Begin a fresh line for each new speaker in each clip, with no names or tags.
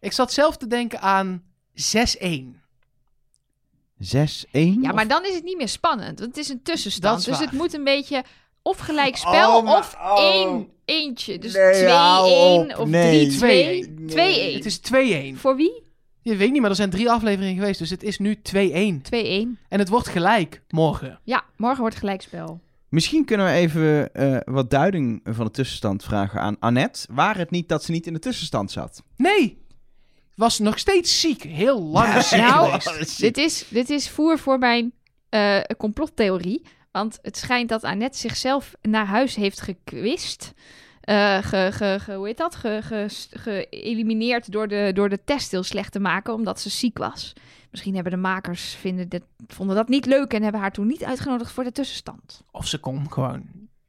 Ik zat zelf te denken aan 6-1.
6-1?
Ja, maar dan is het niet meer spannend. Want het is een tussenstand.
Dat is
dus het
waar.
moet een beetje of gelijkspel
Oh, maar-
of
oh.
één eentje. Dus 2-1
Nee, hou op.
of 3-2. 2-1.
Nee. Nee.
Het is 2-1.
Voor wie? 2-1.
Je weet niet, maar er zijn drie afleveringen geweest. Dus het is nu 2-1. En het wordt gelijk morgen.
Ja, morgen wordt gelijkspel.
Misschien kunnen we even eh, wat duiding van de tussenstand vragen aan Annette. Waar het niet dat ze niet in de tussenstand zat?
Nee! Was nog steeds ziek. Heel lang ziek
Nou,
geweest.
Dit is, dit is voer voor mijn eh, complottheorie. Want het schijnt dat Annette zichzelf naar huis heeft gekwist. Eh, ge, ge, ge- hoe heet dat? Ge- ge- Geëlimineerd door de, door de test heel slecht te maken, omdat ze ziek was. Misschien hebben de makers vinden dit, vonden dat niet leuk en hebben haar toen niet uitgenodigd voor de tussenstand.
Of ze kon gewoon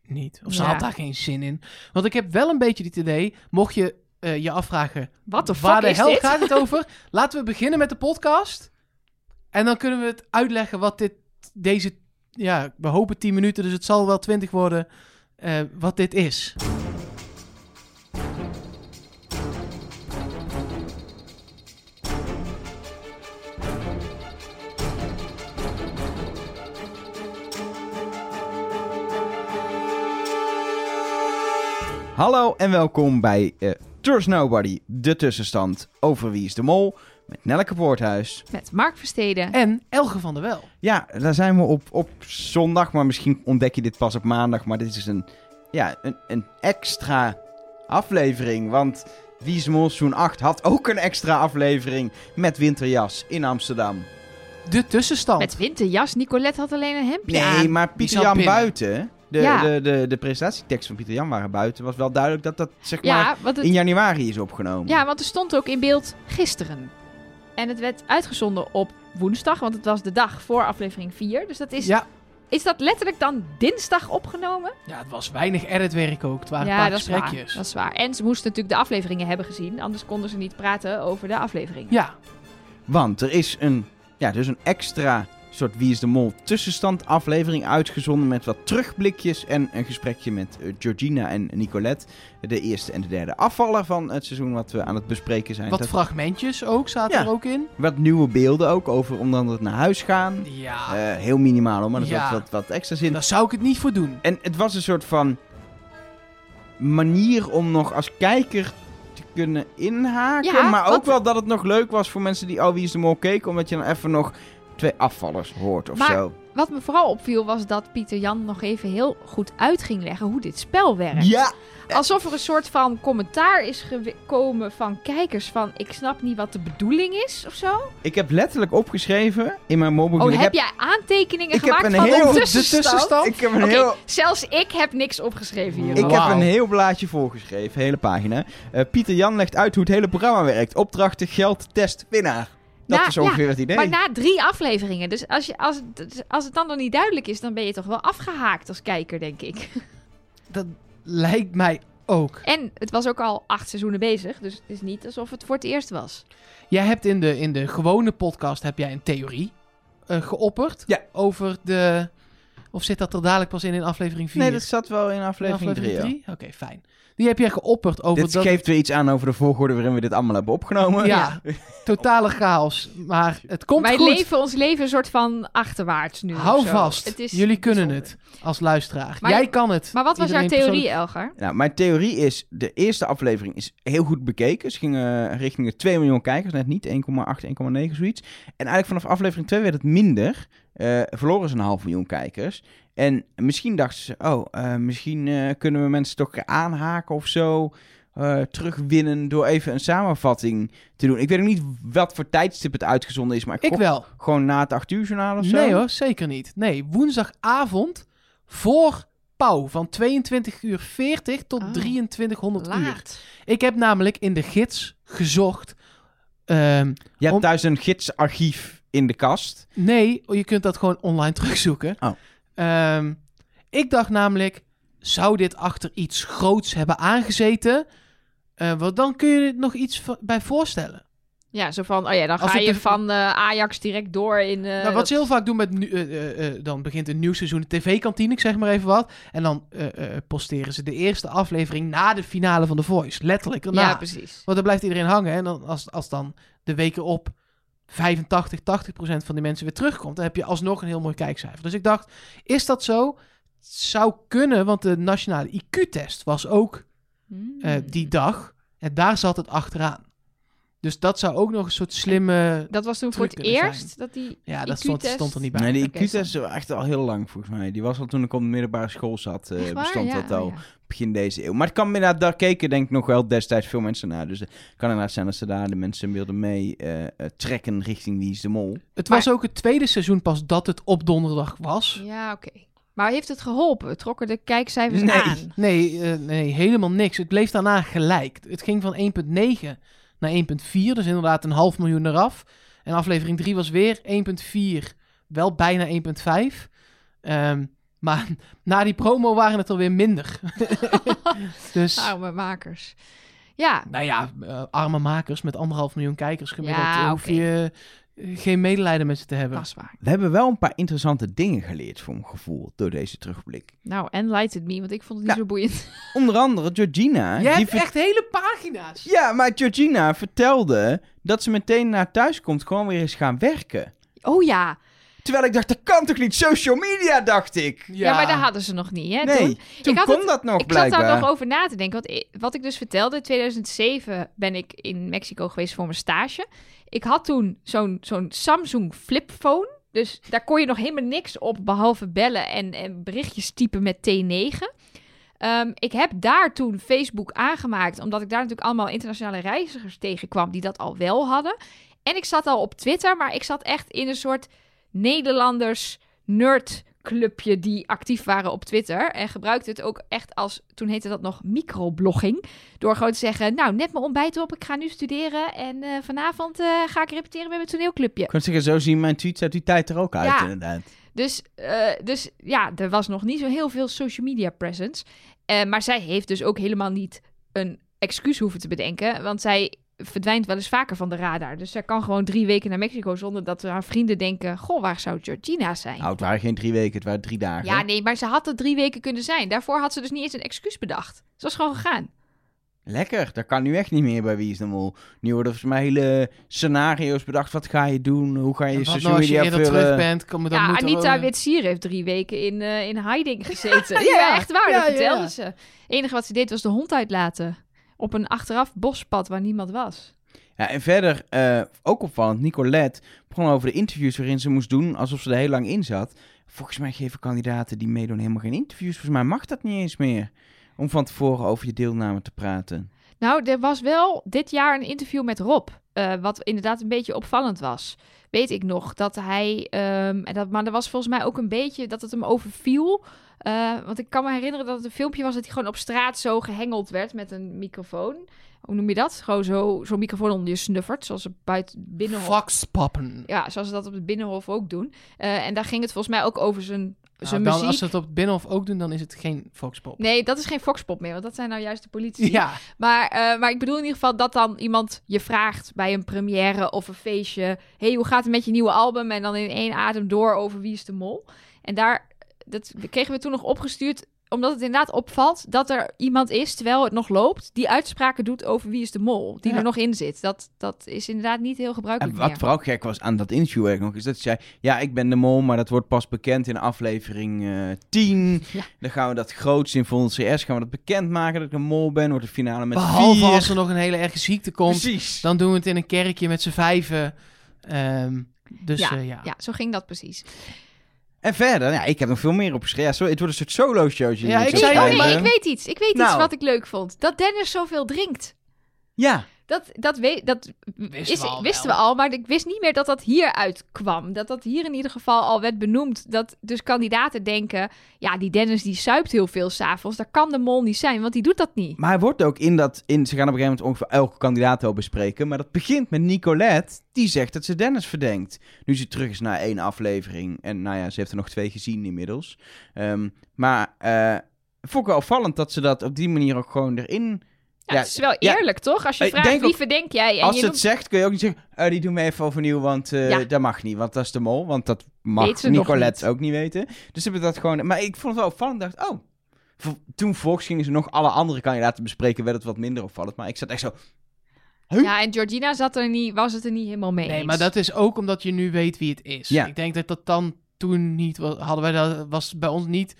niet. Of ze
Ja.
had daar geen zin in. Want ik heb wel een beetje dit idee. Mocht je eh, je afvragen,
Wat de
waar
fuck
de
is
hel
dit?
gaat het over? Laten we beginnen met de podcast. En dan kunnen we het uitleggen wat dit, deze, ja, we hopen 10 minuten, dus het zal wel 20 worden, eh, wat dit is.
Hallo en welkom bij eh Trust Nobody, de tussenstand over Wie is de Mol met Nelleke Poorthuis.
Met Mark Versteden.
En Elge van der Wel.
Ja, daar zijn we op, op zondag, maar misschien ontdek je dit pas op maandag. Maar dit is een, ja, een, een extra aflevering, want Wie is de Mol seizoen 8 had ook een extra aflevering met Winterjas in Amsterdam.
De tussenstand.
Met winterjas. Nicolette had alleen een hemdje
Nee,
aan.
maar Pieter
zat
Jan
binnen.
buiten, de,
Ja.
de, de, de presentatietekst van Pieter Jan waren buiten, was wel duidelijk dat dat zeg maar
ja, want het,
in januari is opgenomen.
Ja, want er stond ook in beeld gisteren. En het werd uitgezonden op woensdag, want het was de dag voor aflevering 4. Dus dat is,
ja.
is dat letterlijk dan dinsdag opgenomen?
ja, het was weinig editwerk ook. Het waren een
ja,
paar
dat is, waar,
gesprekjes.
dat is waar. En ze moesten natuurlijk de afleveringen hebben gezien, anders konden ze niet praten over de aflevering.
Ja,
Want er is een, ja, dus een extra soort Wie is de Mol tussenstand aflevering uitgezonden met wat terugblikjes en een gesprekje met eh, Georgina en Nicolette. De eerste en de derde afvaller van het seizoen wat we aan het bespreken zijn.
wat
Dat-
fragmentjes ook zaten
Ja.
er ook in.
wat nieuwe beelden ook over onder andere het naar huis gaan.
Ja,
Eh, heel minimaal hoor, maar er zat
Ja.
wat, wat extra zin.
daar zou ik het niet voor doen.
En het was een soort van manier om nog als kijker te kunnen inhaken.
Ja,
maar ook
want-
wel dat het nog leuk was voor mensen die al Wie is de Mol keken. Omdat je dan even nog twee afvallers hoort of
Maar-
zo.
Wat me vooral opviel was dat Pieter Jan nog even heel goed uit ging leggen hoe dit spel werkt.
Ja!
Alsof er een soort van commentaar is gekomen van kijkers van ik snap niet wat de bedoeling is of zo.
Ik heb letterlijk opgeschreven in mijn mobile.
Oh,
ik
heb
heb,
jij aantekeningen
ik heb
gemaakt
een
van
heel-
de
de
tussenstand?
tussenstand?
ik heb een
Oké,
heel...
zelfs ik heb niks opgeschreven hier.
Ik
Wauw.
heb een heel blaadje volgeschreven, hele pagina. Eh, Pieter Jan legt uit hoe het hele programma werkt. Opdrachten, geld, test, winnaar. Dat
Nou,
is ongeveer het
Maar
idee.
na drie afleveringen, dus als, je, als, het, als het dan nog niet duidelijk is, dan ben je toch wel afgehaakt als kijker, denk ik.
Dat lijkt mij ook.
En het was ook al acht seizoenen bezig, dus het is niet alsof het voor het eerst was.
Jij hebt in de, in de gewone podcast heb jij een theorie eh, geopperd.
Ja.
Over de. Of zit dat er dadelijk pas in in aflevering 4?
Nee, dat zat wel in aflevering 3.
drie? Oké, fijn. Die heb jij geopperd over
Dit
dat.
geeft weer iets aan over de volgorde waarin we dit allemaal hebben opgenomen.
Ja, totale chaos. Maar het komt
Wij
goed.
leven ons leven een soort van achterwaarts nu. of
Hou
zo.
vast.
Het is
Jullie kunnen
bijzonder.
het als luisteraar.
Maar-
jij kan het.
Maar wat was
Iedereen
jouw theorie,
persoonlijk-
Elger?
Nou, mijn theorie is, de eerste aflevering is heel goed bekeken. Ze gingen richting de 2 miljoen kijkers, net niet 1,8, 1,9 zoiets. En eigenlijk vanaf aflevering 2 werd het minder. Eh, verloren ze een half miljoen kijkers. En misschien dachten ze, oh, eh, misschien eh, kunnen we mensen toch aanhaken of zo. eh, terugwinnen door even een samenvatting te doen. Ik weet ook niet wat voor tijdstip het uitgezonden is, maar ik,
Ik
gok
wel.
gewoon na het 8 uur journaal of zo.
Nee hoor, zeker niet. Nee, woensdagavond voor pauw van 22 uur 40 tot
Oh,
2300 uur.
Laat.
Ik heb namelijk in de gids gezocht. Ehm,
Je hebt
Om-
thuis een gidsarchief in de kast.
nee, oh, je kunt dat gewoon online terugzoeken.
Oh.
Ehm, ik dacht namelijk, zou dit achter iets groots hebben aangezeten? Eh, want dan kun je er nog iets v- bij voorstellen.
Ja, zo van, oh ja, dan
Als
ga
het
je
een-
van eh, Ajax direct door in... eh,
nou, wat
dat-
ze heel vaak doen met... nu- eh, eh, eh, dan begint een nieuw seizoen de tv-kantine, ik zeg maar even wat. En dan eh, eh, posteren ze de eerste aflevering na de finale van The Voice. Letterlijk daarna.
Ja, precies.
Want dan blijft iedereen hangen. En dan, als, als dan de weken op 85, 80 procent van die mensen weer terugkomt... dan heb je alsnog een heel mooi kijkcijfer. Dus ik dacht, is dat zo? Zou kunnen, want de nationale IQ-test was ook eh,
Hmm.
die dag. En daar zat het achteraan. Dus dat zou ook nog een soort slimme...
Dat was toen voor
truc
het
kunnen
eerst dat die
Ja, dat
IQ-test
stond, stond er niet bij.
Nee, die
Oké,
IQ-test is echt al heel lang volgens mij. Die was al toen ik op de middelbare school zat, eh,
Echt waar?
bestond
Ja,
dat al
oh ja.
begin deze eeuw. Maar het kan inderdaad, daar keken denk ik nog wel destijds veel mensen naar. Dus het kan inderdaad zijn dat ze daar de mensen wilden mee eh, eh, trekken richting Wie is de Mol.
Het
Maar-
was ook het tweede seizoen pas dat het op donderdag was.
Ja, oké. Maar heeft het geholpen? Trokken de kijkcijfers
Nee.
aan?
Nee, eh, nee, helemaal niks. Het bleef daarna gelijk. Het ging van 1,9 naar 1,4. Dus inderdaad een half miljoen eraf. En aflevering 3 was weer 1,4. Wel bijna 1,5. Ehm, maar na die promo waren het alweer minder. dus,
Arme Nou, makers. Ja,
nou ja, eh, arme makers met anderhalf miljoen kijkers gemiddeld.
Ja,
eh, hoef
oké.
je eh, geen medelijden met ze te hebben.
dat is waar.
We hebben wel een paar interessante dingen geleerd voor mijn gevoel door deze terugblik.
Nou, en lighted me, want ik vond het niet
Ja.
zo boeiend.
Onder andere Georgina.
Je
die
hebt
ver-
echt hele pagina's.
Ja, maar Georgina vertelde dat ze meteen na thuis komt gewoon weer eens gaan werken.
Oh ja.
Terwijl ik dacht, dat kan toch niet? Social media, dacht ik.
Ja, maar daar hadden ze nog niet, hè?
nee,
toen?
toen,
Ik had
kon
het-
dat nog
ik zat
blijkbaar.
daar nog over na te denken. Want i- wat ik dus vertelde, in 2007 ben ik in Mexico geweest voor mijn stage. Ik had toen zo'n zo'n Samsung flipphone. Dus daar kon je nog helemaal niks op, behalve bellen en, en berichtjes typen met T9. Ehm, ik heb daar toen Facebook aangemaakt, omdat ik daar natuurlijk allemaal internationale reizigers tegenkwam die dat al wel hadden. En ik zat al op Twitter, maar ik zat echt in een soort Nederlanders nerd clubje die actief waren op Twitter. En gebruikte het ook echt als, toen heette dat nog microblogging. Door gewoon te zeggen, nou net mijn ontbijt op, ik ga nu studeren. En eh, vanavond eh, ga ik repeteren met mijn toneelclubje.
Ik kan zeggen, zo zien mijn tweets uit die tijd er ook uit,
Ja.
inderdaad.
Dus, eh, dus ja, er was nog niet zo heel veel social media presence. Eh, maar zij heeft dus ook helemaal niet een excuus hoeven te bedenken. Want zij verdwijnt wel eens vaker van de radar. Dus zij kan gewoon drie weken naar Mexico zonder dat haar vrienden denken... Goh, waar zou Georgina zijn?
Nou, het waren geen drie weken, het waren drie dagen.
ja, nee, maar ze had het drie weken kunnen zijn. Daarvoor had ze dus niet eens een excuus bedacht. Ze was gewoon gegaan.
Lekker, dat kan nu echt niet meer bij Wie is de Mol. Nu worden volgens mij hele scenario's bedacht. Wat ga je doen? Hoe ga je
En wat nou
social
als je
media
eerder terug
vullen?
bent, kom, dan
ja,
moet er
Anita
ook-
Witsier heeft drie weken in, eh, in hiding gezeten. ja,
Ja,
echt waar,
ja,
dat
ja,
vertelde
ja.
ze. Het enige wat ze deed was de hond uitlaten. Op een achteraf bospad waar niemand was.
Ja, en verder, eh, ook opvallend, Nicolette begon over de interviews waarin ze moest doen alsof ze er heel lang in zat. Volgens mij geven kandidaten die meedoen helemaal geen interviews. Volgens mij mag dat niet eens meer. Om van tevoren over je deelname te praten.
Nou, er was wel dit jaar een interview met Rob. eh, wat inderdaad een beetje opvallend was. Weet ik nog dat hij. ehm, en dat, maar er was volgens mij ook een beetje dat het hem overviel. Eh, want ik kan me herinneren dat het een filmpje was dat hij gewoon op straat zo gehengeld werd met een microfoon. Hoe noem je dat? Gewoon zo- zo'n microfoon onder je snuffert. Zoals op buiten binnenhof.
Faxpappen.
Ja, zoals ze dat op het binnenhof ook doen. Eh, en daar ging het volgens mij ook over zijn,
Nou,
zijn
dan,
muziek.
Als ze het op het Binnenhof ook doen, dan is het geen Foxpop.
Nee, dat is geen foxpop meer, want dat zijn nou juist de politici.
Ja,
Maar, eh, maar ik bedoel in ieder geval dat dan iemand je vraagt bij een première of een feestje. hey, hoe gaat het met je nieuwe album? En dan in één adem door over wie is de mol. En daar, dat kregen we toen nog opgestuurd omdat het inderdaad opvalt dat er iemand is, terwijl het nog loopt, die uitspraken doet over wie is de mol, die
Ja.
er nog in zit. Dat, dat is inderdaad niet heel
En
gebruikelijk
wat
meer.
vooral gek was aan dat interview eigenlijk nog, is dat ze zei... Ja, ik ben de mol, maar dat wordt pas bekend in aflevering eh 10.
Ja.
Dan gaan we dat groots in Volgende CS, gaan we dat bekendmaken dat ik een mol ben. Wordt de finale met
behalve
vier.
als er nog een hele erge ziekte komt,
Precies.
dan doen we het in een kerkje met z'n vijven. Ehm, dus eh, ja.
Ja, zo ging dat precies.
En verder, ja, ik heb nog veel meer opgeschreven. Ja, sorry, het wordt een soort solo show.
Ja, ik
Nee,
zei
oh
al,
nee,
hè?
ik weet iets. Ik weet iets
Nou.
wat ik leuk vond. Dat Dennis zoveel drinkt.
Ja,
Dat, dat, we, dat
Wisten
is-
we al
wisten
wel.
we al, maar ik wist niet meer dat dat hieruit kwam. Dat dat hier in ieder geval al werd benoemd. Dat dus kandidaten denken, ja, die Dennis die suipt heel veel s'avonds. Dat kan de mol niet zijn, want die doet dat niet.
maar hij wordt ook in dat... In, ze gaan op een gegeven moment ongeveer elke kandidaat wel bespreken. Maar dat begint met Nicolette, die zegt dat ze Dennis verdenkt. Nu ze terug is na één aflevering. En nou ja, ze heeft er nog twee gezien inmiddels. Ehm, maar eh vond ik wel opvallend dat ze dat op die manier ook gewoon erin
Ja,
Ja,
het is wel
ja.
eerlijk, toch? Als je
Ik
vraagt
denk
wie
ook-
verdenk jij. En
Als
je
ze het
noemt-
zegt, kun je ook niet zeggen... eh, die doen we even overnieuw, want eh,
Ja.
dat mag niet. Want dat is de mol. Want dat
Weet
mag
ze nog
Nicolette
niet.
ook niet weten. Dus ze hebben dat gewoon... Maar ik vond het wel opvallend. Ik dacht, oh... v- Toen volgens gingen ze nog alle andere kandidaten bespreken. Werd het wat minder opvallend. Maar ik zat echt zo... het-
Ja, en Georgina zat er niet, was het er niet helemaal mee
Nee,
eens.
maar dat is ook omdat je nu weet wie het is.
Ja.
Ik denk dat dat dan toen niet was. Hadden wij dat, was bij ons niet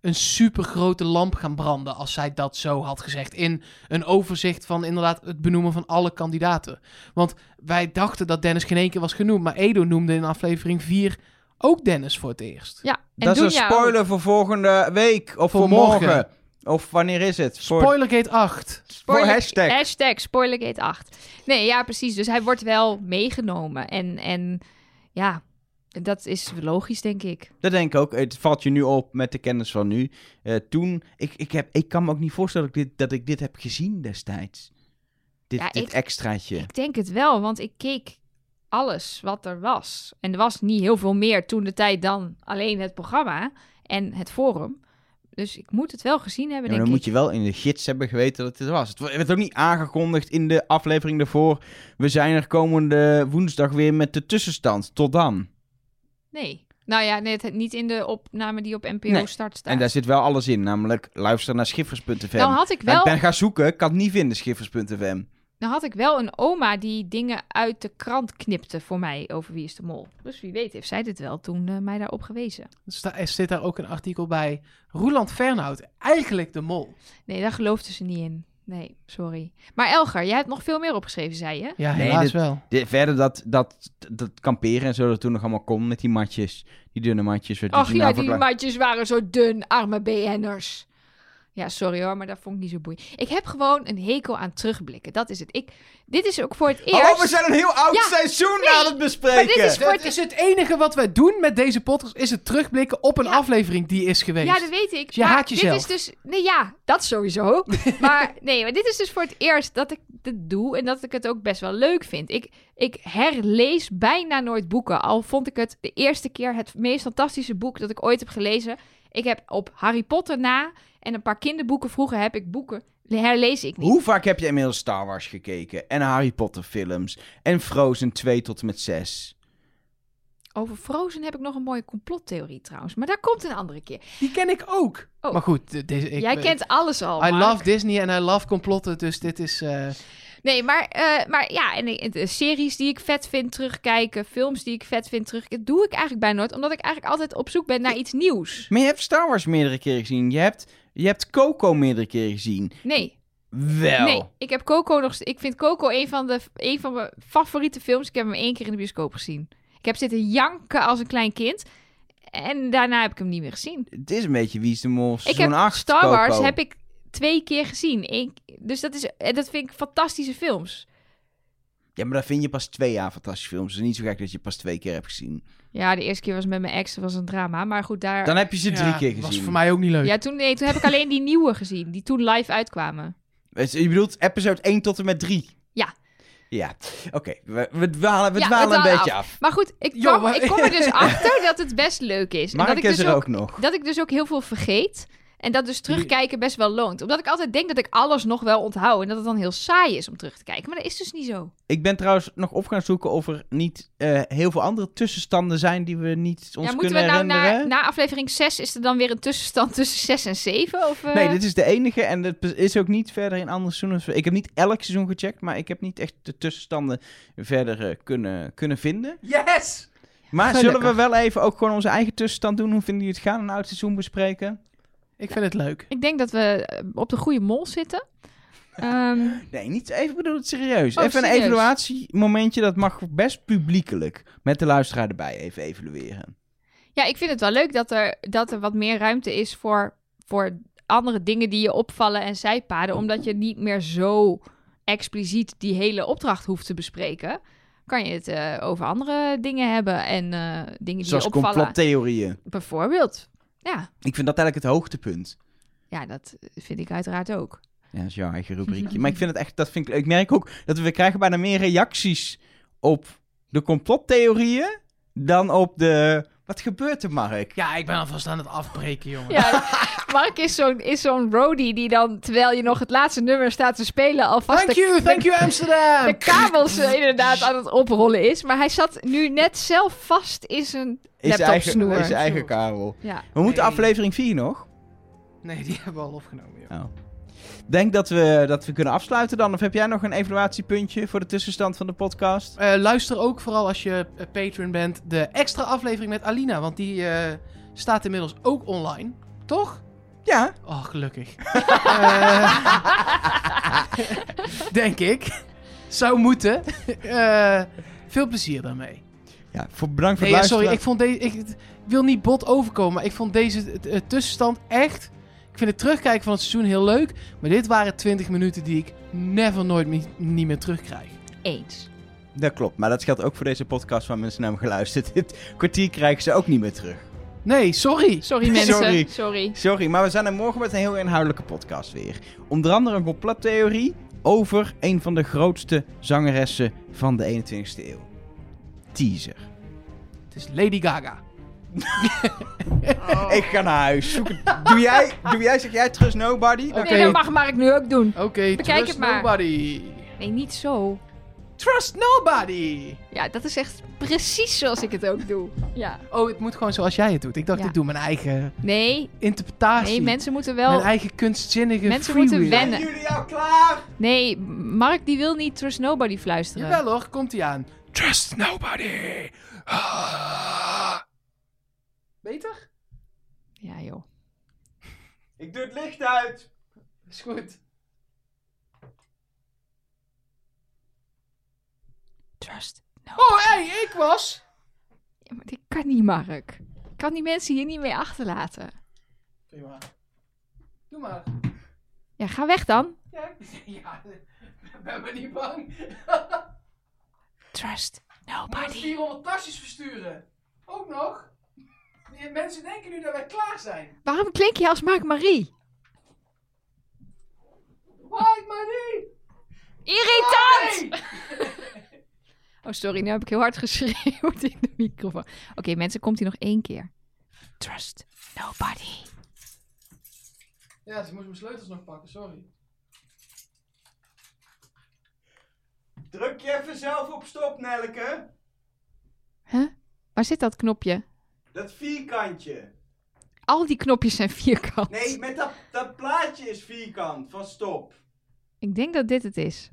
een super grote lamp gaan branden als zij dat zo had gezegd. In een overzicht van inderdaad het benoemen van alle kandidaten. Want wij dachten dat Dennis geen één keer was genoemd. Maar Edo noemde in aflevering 4 ook Dennis voor het eerst.
Ja, en
dat is een
Dunja ook.
spoiler voor volgende week. Of voor,
Voor
morgen.
morgen.
Of wanneer is het? Voor-
Spoilergate 8.
Voor
Spoiler- eh.
hashtag.
Hashtag Spoilergate 8. Nee, ja, precies. Dus hij wordt wel meegenomen. En, en ja, dat is logisch, denk ik.
Dat denk ik ook. Het valt je nu op met de kennis van nu. Eh, toen, ik, ik, heb, ik kan me ook niet voorstellen dat ik dit, dat ik dit heb gezien destijds. Dit,
Ja,
dit
ik-
extraatje.
Ik denk het wel, want ik keek alles wat er was. En er was niet heel veel meer toen de tijd dan alleen het programma en het forum. Dus ik moet het wel gezien
Ja,
hebben,
maar dan
denk
moet
ik.
je wel in de gids hebben geweten dat dit was. Het werd ook niet aangekondigd in de aflevering daarvoor. We zijn er komende woensdag weer met de tussenstand. Tot dan.
Nee. Nou ja, nee, het, niet in de opname die op NPO
Nee.
Start staat.
En daar zit wel alles in. Namelijk luister naar schiffers.fm.
nou had ik
Maar
wel
Ik ben gaan zoeken. Ik kan het niet vinden, schiffers.fm.
Nou had ik wel een oma die dingen uit de krant knipte voor mij over Wie is de Mol. Dus wie weet heeft zij dit wel toen eh, mij daarop gewezen.
Sta- Er zit daar ook een artikel bij. Roeland Fernhout, eigenlijk de mol.
Nee, daar geloofde ze niet in. Nee, sorry. Maar Elger, jij hebt nog veel meer opgeschreven, zei je?
Ja,
Nee,
helaas
dit-
wel.
De, verder dat, dat, dat kamperen en zo dat toen nog allemaal kon met die matjes. Die nou dunne matjes. werd
Ach
Gina
ja, die
verklaard.
maatjes waren zo dun, arme BN'ers. Ja, sorry hoor, maar dat vond ik niet zo boeiend. Ik heb gewoon een hekel aan terugblikken. Dat is het. Ik, dit is ook voor het eerst.
Oh, we zijn een heel oud
Ja,
seizoen
nee,
aan het bespreken.
maar dit is-
Dat is het enige wat wij doen met deze podcast, is het terugblikken op een
Ja.
aflevering die is geweest.
Ja, dat weet ik.
Dus je
maar
haat jezelf.
Dit is dus, nee, ja, dat sowieso. maar nee, maar dit is dus voor het eerst dat ik dit doe en dat ik het ook best wel leuk vind. Ik, ik herlees bijna nooit boeken. Al vond ik het de eerste keer het meest fantastische boek dat ik ooit heb gelezen. Ik heb op Harry Potter na en een paar kinderboeken vroeger heb ik boeken. Herlees ik niet.
Hoe vaak heb je inmiddels Star Wars gekeken? En Harry Potter films? En Frozen 2 tot en met 6?
Over Frozen heb ik nog een mooie complottheorie trouwens. Maar daar komt een andere keer.
Die ken ik ook.
Oh.
Maar goed, de- deze, ik,
Jij
ik-
kent alles al.
I
Mark.
love Disney en I love complotten, dus dit is... eh,
Nee, maar, eh, maar ja, en ik- de series die ik vet vind terugkijken, films die ik vet vind terugkijken, dat doe ik eigenlijk bijna nooit, omdat ik eigenlijk altijd op zoek ben naar iets nieuws.
Maar je hebt Star Wars meerdere keren gezien. Je hebt, je hebt Coco meerdere keren gezien.
Nee,
Wel.
nee, ik heb Coco nog, st- ik vind Coco een van, de, een van mijn favoriete films. Ik heb hem één keer in de bioscoop gezien. Ik heb zitten janken als een klein kind en daarna heb ik hem niet meer gezien.
Het is een beetje Wie is de Mol
Ik
seizoen
heb
8,
Star
Coco.
Wars heb ik twee keer gezien. Eén- dus dat, is, en dat vind ik fantastische films.
Ja, maar dat vind je pas twee jaar fantastische films. Het is niet zo gek dat je pas twee keer hebt gezien.
Ja, de eerste keer was met mijn ex, dat was een drama, maar goed, daar...
Dan heb je ze drie
ja,
keer gezien.
was voor mij ook niet leuk.
Ja, toen, nee, toen heb ik alleen die nieuwe gezien, die toen live uitkwamen.
Het- Je bedoelt episode 1 tot en met 3?
Ja.
Ja, oké. We, we dwalen, we
Ja, we
dwalen een
dwalen
beetje af.
Maar goed, ik
Joh,
kwam,
maar-
ik kom er dus achter dat het best leuk is.
Maar
en
ik
dat
is
ik dus
er
ook,
ook nog.
dat ik dus ook heel veel vergeet. En dat dus terugkijken best wel loont. Omdat ik altijd denk dat ik alles nog wel onthoud. En dat het dan heel saai is om terug te kijken. Maar dat is dus niet zo.
Ik ben trouwens nog op gaan zoeken of er niet eh, heel veel andere tussenstanden zijn die we niet ons
ja, moeten
kunnen
we nou na,
herinneren.
na aflevering 6 is er dan weer een tussenstand tussen 6 en 7? Of, eh?
Nee, dit is de enige en het is ook niet verder in andere seizoenen. Ik heb niet elk seizoen gecheckt, maar ik heb niet echt de tussenstanden verder eh, kunnen, kunnen vinden.
Yes!
Maar
Gelukkig.
zullen we wel even ook gewoon onze eigen tussenstand doen? Hoe vinden jullie het gaan? Een oud seizoen bespreken?
Ik vind het leuk.
Ik denk dat we eh, op de goede mol zitten. Ehm,
Nee, niet even ik bedoel het serieus.
Oh,
even een
serieus.
evaluatiemomentje, dat mag best publiekelijk met de luisteraar erbij even evalueren.
Ja, ik vind het wel leuk dat er, dat er wat meer ruimte is voor, voor andere dingen die je opvallen en zijpaden. Omdat je niet meer zo expliciet die hele opdracht hoeft te bespreken. Kan je het eh, over andere dingen hebben en eh, dingen die
Zoals
je opvallen.
complottheorieën.
Bijvoorbeeld. Ja.
Ik vind dat eigenlijk het hoogtepunt.
ja, dat vind ik uiteraard ook.
Ja, dat is jouw eigen rubriekje. maar ik vind het echt, dat vind ik, ik merk ook dat we krijgen bijna meer reacties op de complottheorieën dan op de, Wat gebeurt er, Mark?
Ja, ik ben alvast aan het afbreken, jongen.
Ja, Mark is zo'n is zo'n roadie die dan, terwijl je nog het laatste nummer staat te spelen, alvast
Thank
de,
you, thank
de,
you Amsterdam!
de kabels eh, inderdaad aan het oprollen is. Maar hij zat nu net zelf vast in zijn
Is zijn eigen,
laptopsnoer.
is zijn eigen kabel.
Ja.
We moeten
Nee.
aflevering 4 nog.
Nee, die hebben we al opgenomen, joh.
Oh. Denk dat we, dat we kunnen afsluiten dan. Of heb jij nog een evaluatiepuntje voor de tussenstand van de podcast?
Eh, luister ook vooral als je eh, patron bent de extra aflevering met Alina, want die eh, staat inmiddels ook online, toch?
Ja.
Oh, gelukkig. Eh, denk ik. Zou moeten. Eh, veel plezier daarmee.
ja voor, bedankt voor
Nee, ja,
het
sorry,
luisteren.
ik vond deze. Ik, ik wil niet bot overkomen, maar ik vond deze eh, tussenstand echt. Ik vind het terugkijken van het seizoen heel leuk. Maar dit waren 20 minuten die ik never nooit mi- niet meer terugkrijg.
Eens.
Dat klopt, maar dat geldt ook voor deze podcast waar mensen naar hebben geluisterd. Dit kwartier krijgen ze ook niet meer terug.
Nee, sorry.
Sorry mensen.
Sorry.
Sorry.
Sorry, maar we zijn er morgen met een heel inhoudelijke podcast weer. Onder andere een complottheorie over een van de grootste zangeressen van de 21ste eeuw. Teaser.
Het is Lady Gaga.
Ik ga naar huis. Zoek het. Doe jij, doe jij, zeg jij Trust Nobody? Dan
Oké.
Nee, dat mag Mark nu ook doen.
Oké,
Bekijk
trust
het maar.
nobody.
Nee, niet zo.
Trust nobody.
Ja, dat is echt precies zoals ik het ook doe. Ja.
Oh, het moet gewoon zoals jij het doet. Ik dacht,
Ja.
ik doe mijn eigen
Nee,
interpretatie.
nee mensen moeten
Mijn
wel...
eigen kunstzinnige
Mensen moeten
Zijn
freewheeling.
wennen.
jullie al klaar?
Nee, Mark die wil niet Trust Nobody fluisteren.
Jawel hoor, komt hij aan. Trust nobody. Ah. Beter?
Ja joh.
Ik doe het licht uit.
Is goed.
Trust Nobody.
Oh, hé, hey, ik was.
Ja, maar dit kan niet, Mark. Ik kan die mensen hier niet mee achterlaten.
Prima. Doe maar.
Ja, ga weg dan.
Ja, ja ben me niet bang.
Trust
Maar
Nobody.
400 tasjes versturen. Ook nog. Mensen denken nu dat wij klaar zijn.
Waarom klink je als Mark Marie?
White money!
Irritant! Oh, sorry, nu heb ik heel hard geschreeuwd in de microfoon. Oké, mensen, komt hij nog één keer. Trust Nobody.
Ja, ze moest mijn sleutels nog pakken, sorry.
Druk je even zelf op stop, Nelke.
Huh? Waar zit dat knopje?
Dat vierkantje.
Al die knopjes zijn vierkant.
met dat, dat plaatje is vierkant van stop.
Ik denk dat dit het is.